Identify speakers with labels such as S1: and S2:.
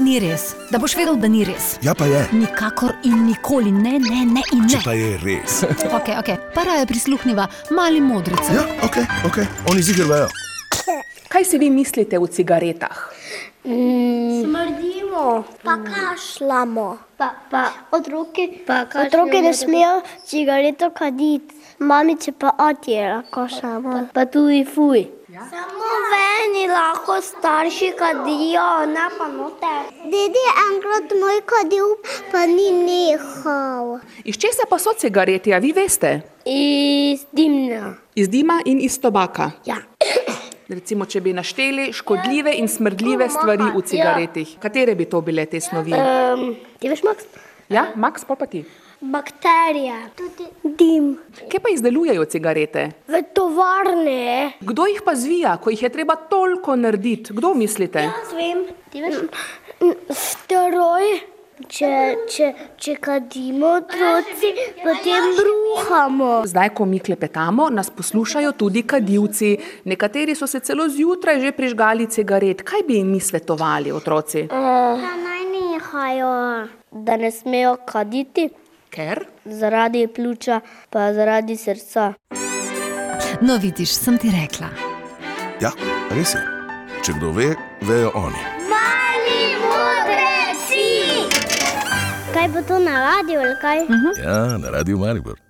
S1: ni res, da boš vedel, da ni res.
S2: Ja, pa je.
S1: Nikakor in nikoli ne, ne, ne in
S2: Če
S1: ne.
S2: pa je res.
S1: Okay, okay. Para je prisluhnila mali modrici.
S2: Ja, ok, ok, oni zigrajo.
S3: Kaj si vi mislite o cigaretah?
S4: Smrdimo,
S5: Mm. Pa kašljamo.
S4: pa, pa
S5: Otroki,
S4: Pa kašljamo,
S5: otroki
S4: da-
S5: ne smejo cigareto kaditi, mamice pa otje lahko samo. Ja.
S4: pa tudi fuj.
S5: Samo veni lahko starši kadijo, ne pa noter. Dedi enkrat moj kadil, pa ni nehal.
S3: Iz česa pa so cigarete, a vi veste?
S4: Iz dimna.
S3: Iz dima in iz tobaka.
S4: Ja.
S3: Recimo, če bi našteli škodljive in smrdljive stvari v cigaretih, katere bi to bile te snovi?
S4: Um, ti veš, Max?
S3: Ja, Max, pol pa ti.
S5: Bakterije, tudi dim.
S3: Kje pa izdelujejo cigarete?
S5: V
S4: eh?
S5: tovarne.
S3: Kdo jih pa zvija, ko jih je treba toliko narediti? Kdo mislite?
S5: Jaz vem, ti veš.
S4: Mm,
S5: Stroj. Če, če, če kadimo otroci, potem bruhamo.
S3: Zdaj, ko mi klepetamo, nas poslušajo tudi kadilci. Nekateri so se celo zjutraj že prižgali cigaret. Kaj bi jim mi svetovali, otroci?
S5: Eh. Da naj nehajo.
S4: Da ne smejo kaditi
S3: Ker?
S4: zaradi pljuča, pa zaradi srca.
S1: No, vidiš, sem ti rekla.
S2: Ja, res je. Če kdo ve, vejo oni.
S5: Mali modri si! Kaj bo to na radiju ali kaj?
S2: Ja, na radiju Maribor.